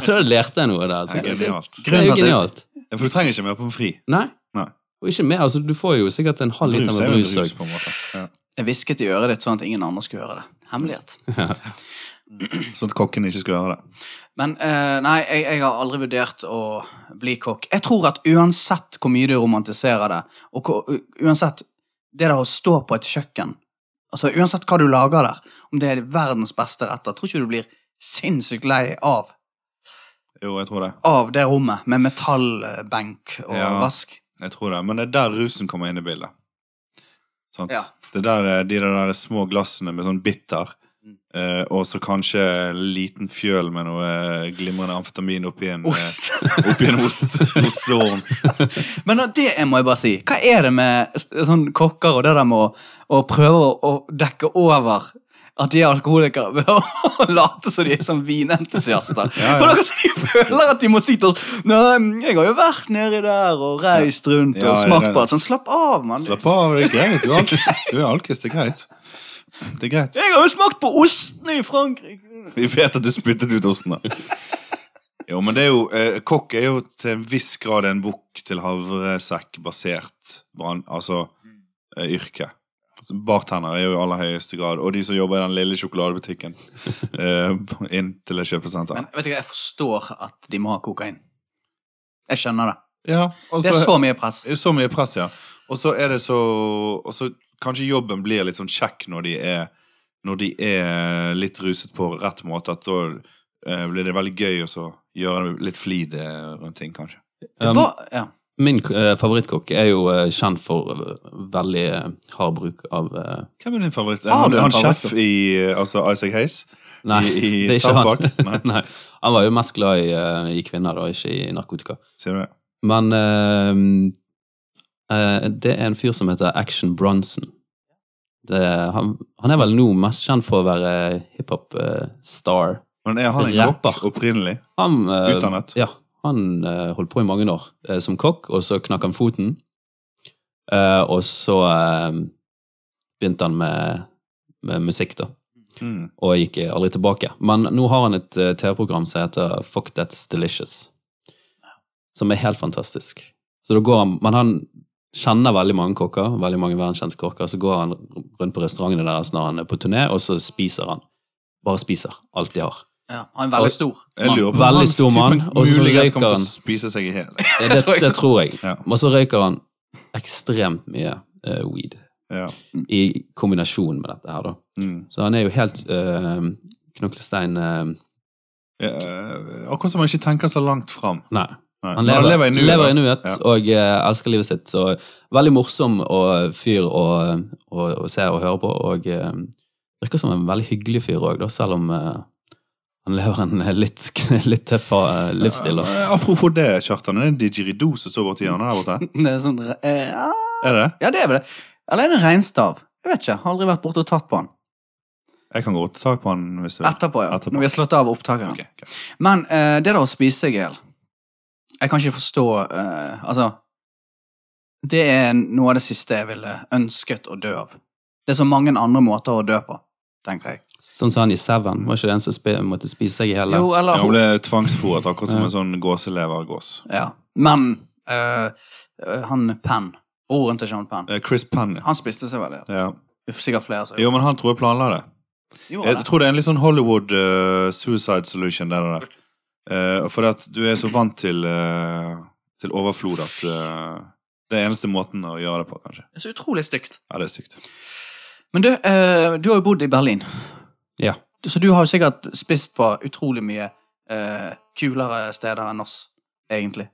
C: da lærte jeg noe der.
B: Det er
C: Så.
B: genialt.
C: Det er
A: Grunnen til
C: jo
A: at det-
C: genialt.
B: Ja, For du trenger ikke mer pommes frites.
C: Nei.
B: Nei.
C: Og ikke mer. altså Du får jo sikkert en halv liter
B: Brus er
C: med
B: jo en
C: brus
B: brus,
C: også.
B: på en måte. Ja.
A: Jeg hvisket i øret ditt sånn at ingen andre skulle høre det. Hemmelighet.
B: Sånn at kokken ikke skulle høre det.
A: Men eh, nei, jeg, jeg har aldri vurdert å bli kokk. Jeg tror at uansett hvor mye du romantiserer det, og hvor, u- uansett det der å stå på et kjøkken Altså Uansett hva du lager der, om det er verdens beste retter, tror ikke du blir sinnssykt lei av,
B: Jo, jeg tror det.
A: av det rommet med metallbenk og
B: Ja.
A: vask.
B: Jeg tror det. Men det er der rusen kommer inn i bildet. Sant?
A: Ja.
B: Det er der, eh, de der små glassene med sånn bitter,
A: Mm.
B: eh, og så kanskje en liten fjøl med noe eh, glimrende amfetamin oppi en, eh,
A: Ost.
B: oppi en ost, ostehorn.
A: Men det må jeg bare si. Hva er det med s- sånn kokker og det der med å, å prøve å, å dekke over at de er alkoholikere ved å late som de er sånn vinentusiaster?
B: Ja, ja.
A: For dere som føler at de må si til oss Nei, jeg har jo vært nedi der og reist rundt
B: Ja,
A: og
B: ja,
A: smakt
B: det-
A: på alt. Sånn, slapp av, mann.
B: Slapp av, det er greit. Du er, alk- du er alkis, det er greit. Det er greit.
A: Jeg har jo smakt på ostene i Frankrike.
B: Vi vet at du spyttet ut osten, da. Jo, men det er jo, eh, kokk er jo til en viss grad en bukk til havresekk-basert brann, altså
A: Mm.
B: eh, yrke. Så Bartender er jo i aller høyeste grad, og de som jobber i den lille sjokoladebutikken eh, inn til et kjøpesenter.
A: Men vet du hva, jeg forstår at de må ha kokain. Jeg skjønner det.
B: ja, altså- og
A: Det er så mye press.
B: Det er jo så mye press, ja. Og så er det så Og så kanskje jobben blir litt sånn kjekk når de er Når de er litt ruset på rett måte, at da eh, blir det veldig gøy å så gjøre litt flid eh, rundt ting, kanskje.
C: Um,
A: Hva? Ja.
C: min eh, favorittkokk er jo eh, kjent for eh, veldig eh, hard bruk av eh,
B: Hvem er din favoritt? Er
A: Har
B: han,
A: du en
B: han
A: favoritt?
B: sjef i eh, Altså Isaac Hayes?
C: Nei,
B: I, i
C: det er ikke
B: South
C: han.
B: Park? Nei,
C: Nei. Han var jo mest glad i, eh, i kvinner, da, ikke i narkotika.
B: sier du det?
C: Men eh, eh, det er en fyr som heter Action Bronson. Det, han, han er vel nå mest kjent for å være eh, hiphop-star.
B: Men er han en
C: Rapper.
B: kokk opprinnelig?
C: han eh,
B: Utdannet.
C: Ja, han eh, holdt på i mange år eh, som kokk, og så knakk han foten. Eh, og så eh, begynte han med, med musikk, da,
B: Mm.
C: og gikk aldri tilbake. Men nå har han et eh, TV-program som heter Fuck That's Delicious, som er helt fantastisk. Så da går han, Men han kjenner veldig mange kokker, veldig mange verdenskjente kokker, så går han rundt på restaurantene deres når han er på turné, og så spiser han. Bare spiser alt de har.
A: ja. Han er veldig stor.
B: Jeg lurer på om
C: Veldig
B: han
C: stor
B: typen
C: mann, og så
B: Muligens
C: røyker
B: kommer til
C: han.
B: å spise seg i hjel.
C: Ja, det, det tror jeg.
B: Ja.
C: Og så røyker han ekstremt mye eh, weed
B: Ja.
C: i kombinasjon med dette her, da.
B: Mm.
C: Så han er jo helt eh, knoklestein eh,
B: Ja, eh, akkurat som han ikke tenker så langt fram.
C: Nei.
B: Nei.
C: Han
B: Men
C: lever, lever i nuet,
B: da. Ja.
C: og eh, elsker livet sitt. Så veldig morsom og fyr å å- å se og høre på. Og eh, virker som en veldig hyggelig fyr òg, selv om eh, han lever en eh, litt, litt tøff eh, livsstil. da.
B: Eh, Apropos det, Kjartan. Er det en didgeridoo som står borti hjørnet der borte?
A: Det er sånn eh, ja.
B: Er det det?
A: Ja, det er vel det. Eller er det en reinstav? Jeg vet ikke. Har aldri vært borte og tatt på den.
B: Jeg kan godt ta på han hvis du vil.
A: Etterpå, ja.
B: Etterpå.
A: Når vi har slått av opptakeren.
B: Ok, ok.
A: Men eh, det der å spise seg i hjel Jeg kan ikke forstå eh, Altså det er noe av det siste jeg ville ønsket å dø av. Det er så mange andre måter å dø på, tenker jeg.
C: Sånn som han i Seven. Var ikke det en som spe, måtte spise seg i hele?
A: Jo, eller
B: Ja, hun ble tvangsfòret, akkurat som en sånn gåselevergås.
A: Ja. Men eh, han Penn, broren til Sean Penn,
B: Eh, Chris Penn. ja.
A: han spiste seg veldig.
B: Ja.
A: Sikkert flere. som
B: Jo, men han tror jeg planla det.
A: gjorde
B: Jeg
A: det.
B: tror det er en litt sånn Hollywood eh, suicide solution. Det der. Eh, for at du er så vant til, eh, til overflod at eh, det er eneste måten å gjøre det på, kanskje.
A: Det er så utrolig stygt.
B: Ja, det er stygt.
A: Men du, eh, du har jo bodd i Berlin.
C: Ja.
A: Du- Så du har jo sikkert spist på utrolig mye eh, kulere steder enn oss, egentlig.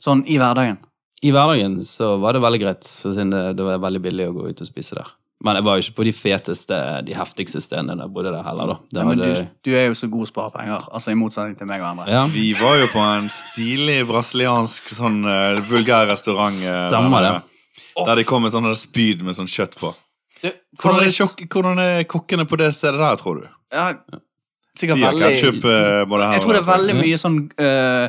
A: Sånn i hverdagen.
C: I hverdagen så var det veldig greit, så siden det, det var veldig billig å gå ut og spise der. Men jeg var jo ikke på de feteste, de heftigste stedene der jeg bodde der heller, da. Det
A: Ja, men
C: hadde,
A: du, du er jo så god å spare penger, altså i motsetning til meg og andre.
C: ja,
B: Vi var jo på en stilig brasiliansk sånn eh, vulgær restaurant. eh,
C: Stemmer
B: der,
C: det.
B: der de kom med sånne spyd med sånn kjøtt på.
A: Du,
B: Hvordan er,
A: favoritt-
B: sjokk- hvordan er kokkene på det stedet der, tror du?
A: Ja, sikkert
B: De har
A: veldig
B: ketchup eh, både her
A: Jeg tror det er veldig
C: Ja.
A: mye sånn eh,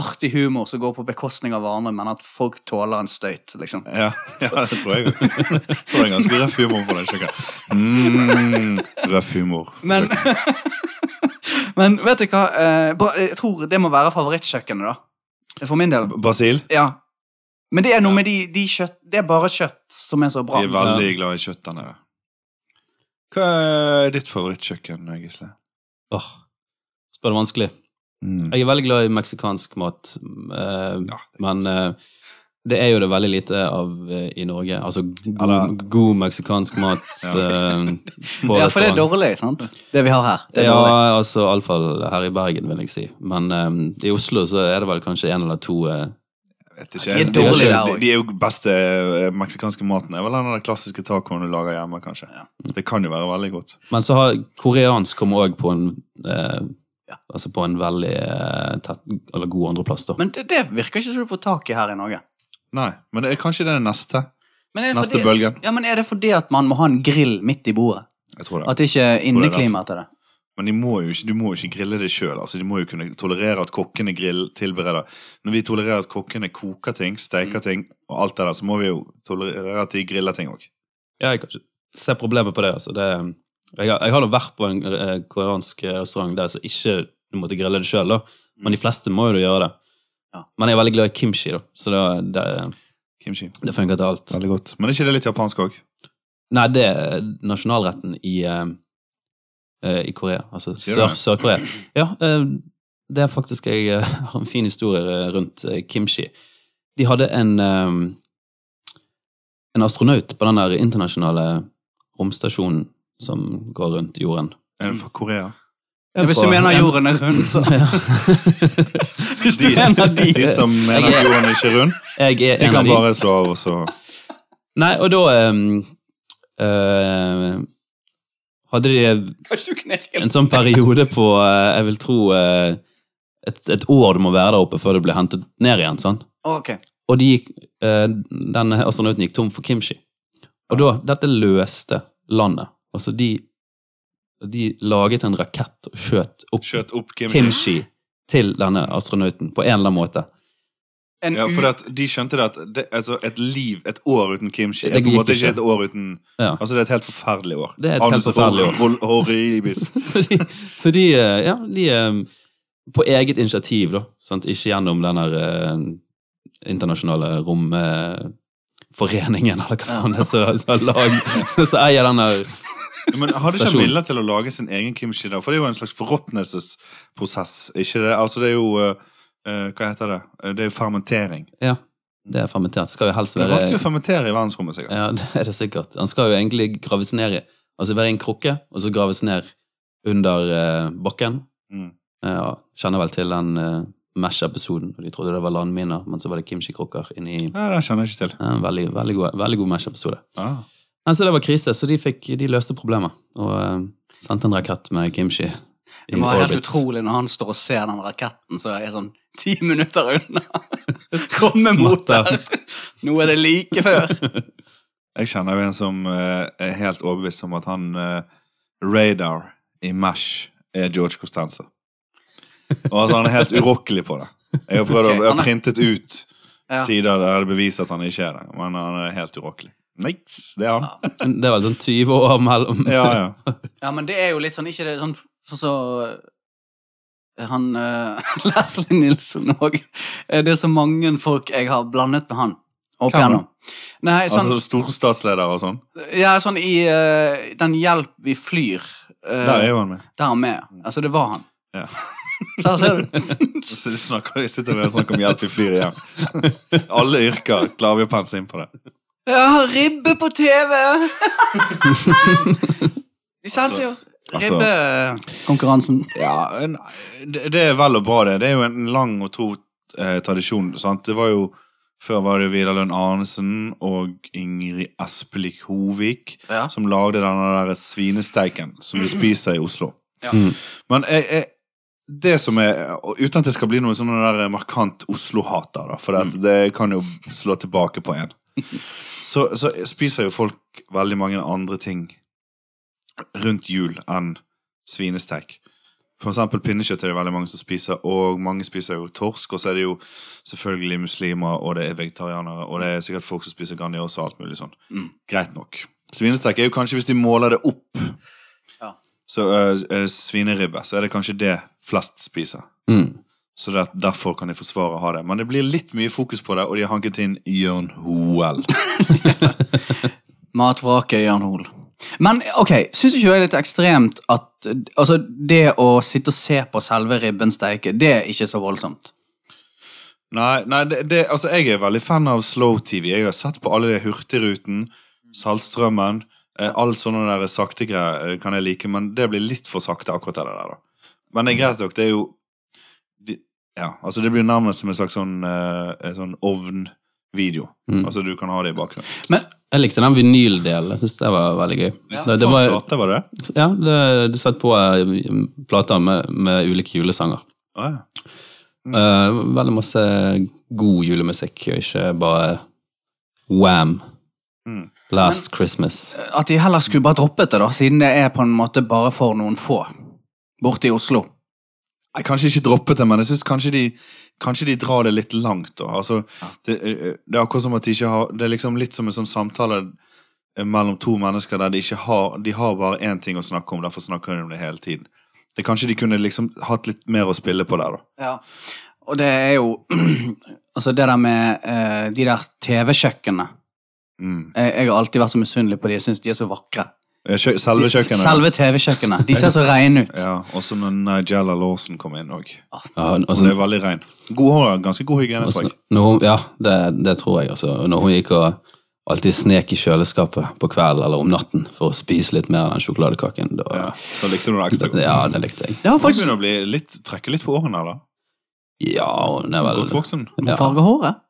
A: artig humor som går på bekostning av hverandre, men at folk tåler en støyt, liksom.
B: Ja, ja, det tror jeg òg. Så det er ganske røff humor på den kjøkkenet. Mm, røff humor.
A: Men, men vet du hva? eh, bra, jeg tror det må være favorittkjøkkenet, da. For min del.
B: Basil?
A: Ja. Men det er noe med de, de kjøtt Det er bare kjøtt som er så bra.
B: Vi er veldig glad i kjøtt der nede. Hva er ditt favorittkjøkken, Gisle?
C: åh, spør det vanskelig.
A: Mm.
C: Jeg er veldig glad i meksikansk mat, eh,
B: Ja,
C: men eh, det er jo det veldig lite av eh, i Norge. Altså god,
B: Eller-
C: god meksikansk mat
B: Ja.
C: eh, på
A: Ja, for det er
C: restaurant.
A: dårlig, sant? Det vi har her. Det er
C: Ja,
A: dårlig.
C: altså iallfall her i Bergen, vil jeg si. Men eh, i Oslo så er det vel kanskje en eller to eh,
B: Jeg vet
A: Ja, de er
B: De er
A: dårlige der
B: de,
A: også.
B: de er jo beste eh, meksikanske maten. er vel den der klassiske tacoen du lager hjemme, kanskje.
A: Ja.
B: Det kan jo være veldig godt.
C: Men så har koreansk kommet òg på en eh,
A: Ja.
C: Altså på en veldig eh, tett, eller god andreplass, da.
A: Men det, det virker ikke som du får tak i her i Norge.
B: Nei, men det er kanskje det er neste.
A: Men er, det
B: Neste
A: fordi,
B: bølgen.
A: ja, men er det fordi at man må ha en grill midt i bordet?
B: Jeg tror det.
A: At det ikke er inneklimaet til det?
B: Men de må jo ikke, du må jo ikke grille det sjøl. Altså, de må jo kunne tolerere at kokkene grill tilbereder. Når vi tolererer at kokkene koker ting,
A: Mm.
B: steiker ting og alt det der, så må vi jo tolerere at de griller ting òg.
C: Ja, jeg kan ikke se problemet på det. altså. Det, jeg, har- jeg har da vært på en eh, koreansk restaurant der som ikke du måtte grille det sjøl, da. Men de fleste må jo da gjøre det.
A: Mm. Ja.
C: Men jeg er veldig glad i kimchi, da, så det, det,
B: Kimchi.
C: det funker til alt.
B: Veldig godt. Men er ikke det litt japansk òg?
C: Nei, det er nasjonalretten i, eh, eh, i Korea. Altså
B: Sier du
C: Sør-
B: det?
C: Sør-Korea. ja, eh, det er faktisk jeg eh, har en fin historie eh, rundt eh, kimchi. De hadde en eh, en astronaut på den der internasjonale romstasjonen som går rundt jorden.
A: Mm.
B: Er det fra Korea?
A: Ja, hvis du mener jorden er rund, så
C: Ja.
A: Hvis du mener de
B: De som mener at jorden ikke er rund,
C: Jeg er
B: de
C: en
B: kan
C: av de.
B: bare slå av og så
C: Nei, og da eh, eh, hadde de
A: Kanskje du knirker
C: en sånn periode på eh, Jeg vil tro eh, et, et år du må være der oppe før du blir hentet ned igjen. sånn.
A: Ok.
C: Og de gikk, eh, den astronauten gikk tom for kimchi. Og da, dette løste landet. Altså, de, de laget en rakett og skjøt opp
B: skjøt opp Kim.
C: kimchi til denne astronauten på en eller annen måte.
A: En
B: Ja,
A: u-
B: for at de skjønte det at det, altså et liv, et år uten kimchi, er på
C: Det
B: en
C: gikk
B: måte ikke
C: ikke.
B: et år uten
C: Ja.
B: Altså, det er et helt forferdelig år.
C: Det er et helt
B: Anus
C: forferdelig år.
B: hor- hor- Horribis.
C: så de, så de, eh, ja, de eh, På eget initiativ, da. Sant? Ikke gjennom den her eh, internasjonale romforeningen, eller hva faen det er, som- som har lag- som eier den her
B: Men hadde ikke han
C: Stasjon.
B: villet til å lage sin egen kimchi da? For det er jo en slags forråtnelsesprosess, ikke det? Altså, det er jo eh, eh, Hva heter det? Eh, Det er jo fermentering.
C: Ja, det er fermentert. Skal jo helst
B: Det er vanskelig
C: være
B: å fermentere i verdensrommet, sikkert.
C: Ja, det er det sikkert. Han skal jo egentlig graves ned i Altså være i en krukke, og så graves ned under eh, bakken.
B: Mm.
C: Eh, Ja, kjenner vel til den eh, Mesh-episoden, og de trodde det var landminer, men så var det kimchi-krukker inni
B: Nei, det kjenner jeg ikke til.
C: ja, en veldig, veldig god, veldig god Mesh-episode.
B: Ah.
C: Nei, så det var krise, så de, fikk, de løste problemet og eh, sendte en rakett med kimchi. i
A: Det må være helt
C: orbit.
A: utrolig når han står og ser den raketten som er sånn ti minutter unna. Komme mot
C: Smatter.
A: der! Nå er det like før.
B: Jeg kjenner jo en som eh, er helt overbevist om at han eh, Radar i MASH er George Costanza. Og altså, han er helt urokkelig på det. Jeg har prøvd
A: Ok,
B: å jeg
A: han
B: har
A: er-
B: printet ut
A: Ja.
B: sider der det beviser at han ikke er det. Men han er helt urokkelig. Niks, det er han.
C: Det er vel sånn 20 år mellom
B: Ja, ja.
A: Ja, men det er jo litt sånn Ikke det sånn sånn så eh, han eh, Leslie Nilsen òg. Det er så mange folk jeg har blandet med han. Opp
B: Hvem da?
A: igjennom. Nei, sånn,
B: Altså storstatsleder og sånn.
A: ja, sånn i eh, Den Hjelp vi flyr. eh,
B: Der er jo han med.
A: der han med. Altså, det var han.
B: Ja.
A: Der ser du.
B: Så de snakker, jeg sitter og snakker om hjelp i flyr igjen. Alle yrker klarer vi å pense inn på det.
A: Ja, ribbe på TV! De sendte jo
B: Altså-
A: ribbekonkurransen.
B: Ja, nei, det det er vel og bra, det. Det er jo en lang og tro eh, tradisjon. sant? Det var jo, Før var det Vidar Lund Arnesen og Ingrid Espelik Hovik
A: Ja.
B: som lagde denne der svinesteiken som vi spiser i Oslo.
A: Ja.
C: Mm.
B: Men jeg, jeg, det som er og Uten at det skal bli noe sånn der markant Oslo-hat, der, da, for
A: Mm.
B: det, at det kan jo slå tilbake på en. Så, så spiser jo folk veldig mange andre ting rundt jul enn svinesteik. For eksempel pinnekjøtt er det veldig mange som spiser, og mange spiser jo torsk. Og så er det jo selvfølgelig muslimer, og det er vegetarianere, og det er sikkert folk som spiser Grandiosa og alt mulig sånn.
A: Mm.
B: Greit nok. Svinesteik er jo kanskje, hvis de måler det opp,
A: Ja.
B: så øh, øh, svineribbe, så er det kanskje det flest spiser.
C: Mm.
B: Så det, er- derfor kan de forsvare å ha det. Men det blir litt mye fokus på det, og de har hanket inn Jørn Hoel.
A: Matvraket Jørn Hoel. Men ok, syns ikke du det er litt ekstremt at eh, altså, det å sitte og se på selve ribben steike, det er ikke så voldsomt?
B: Nei, nei det, det, altså jeg er veldig fan av slow-TV. Jeg har sett på alle de Hurtigruten, Saltstrømmen, eh, alt sånne der sakte greier eh, kan jeg like, men det blir litt for sakte akkurat det der, da. Men det er greit nok, det er jo de, Ja, altså det blir nærmest som en slags sånn, eh, en sånn ovnvideo.
C: Mm.
B: Altså du kan ha det i bakgrunnen.
C: Jeg likte den vinyldelen. Jeg syns det var veldig gøy.
A: Ja.
C: Så det var,
B: Plate, var det?
C: ja, det, du satte på eh, plater med, med ulike julesanger.
B: Å, ja. Mm.
C: Eh, veldig masse god julemusikk, og ikke bare Wham!
B: Mm.
C: Last Christmas.
A: At de heller skulle bare droppet det, da, siden det er på en måte bare for noen få borte i Oslo.
B: Nei, kanskje ikke droppet det, men jeg synes kanskje de, kanskje de drar det litt langt. Da. Altså, det, eh, det er akkurat som at de ikke har Det er liksom litt som en sånn samtale eh, mellom to mennesker der de ikke har De har bare én ting å snakke om, derfor snakker de om det hele tiden. Det er Kanskje de kunne liksom hatt litt mer å spille på der, da.
A: Ja. Og det er jo Altså, det der med eh, de der TV-kjøkkenene.
B: Mm.
A: Jeg, jeg har alltid vært så misunnelig på de. Jeg syns de er så vakre.
B: Eh, kjø- Selve kjøkkenet.
A: Selve TV-kjøkkenet. De ser så rene ut.
B: Ja, Også når Nigella Lawson kom inn òg.
C: Ja, og
B: Hun
C: så-
B: er veldig rein. God hår, ganske god hygiene.
C: og
B: tror
C: så-
B: jeg.
C: når hun- Ja, det, det tror jeg, altså. Og Når hun gikk og alltid snek i kjøleskapet på kvelden eller om natten for å spise litt mer av den sjokoladekaken, da
B: Ja, da likte du det ekstra godt.
C: Ja, det likte jeg.
A: Det var
B: Hun
A: faktisk
B: begynner å bli litt, trekke litt på årene her, da.
C: Ja, hun er vel
B: Godt voksen.
A: å farge håret.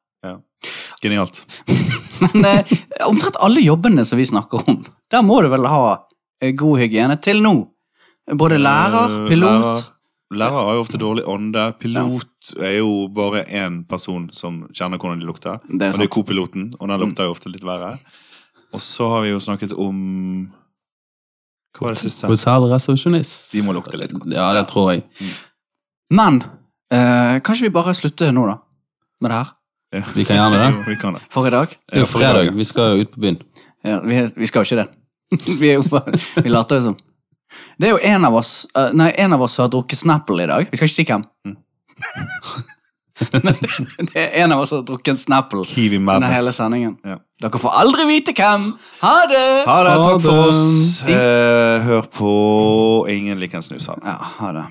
B: Genialt.
A: Men eh, omtrent alle jobbene som vi snakker om, der må du vel ha eh, god hygiene til nå. Både lærer,
B: Eh,
A: pilot
B: Lærer, lærer har jo ofte dårlig ånde. Pilot er jo bare én person som kjenner hvordan de lukter.
A: Det er
B: og det er Mm.
A: sant.
B: kopiloten, og den lukter jo ofte litt verre. Og så har vi jo snakket om Hva var det siste?
C: hotellresepsjonist.
B: De må lukte litt godt.
C: Ja, det tror jeg.
A: Men eh, kanskje vi bare slutter nå, da? Med det her?
C: Vi kan gjerne det.
B: Jo, vi kan det.
A: For i dag?
C: Det er jo
B: Ja, for i dag,
C: fredag, vi skal jo ut på byen.
A: Ja, vi, vi skal jo ikke det. vi, er jo bare, vi later det som. Det er jo en av oss eh, Nei, en av oss som har drukket Snapple i dag. Vi skal ikke si hvem.
B: Mm.
A: Men det er en av oss som har drukket en Snapple
B: Kiwi
A: under hele
B: Madness.
A: sendingen.
B: Ja.
A: Dere får aldri vite hvem. Ha det!
B: Ha det.
C: Ha
B: Takk for
C: det.
B: oss. Eh, hør på Ingen liker en snus. Ha det.
A: Ja, ha det.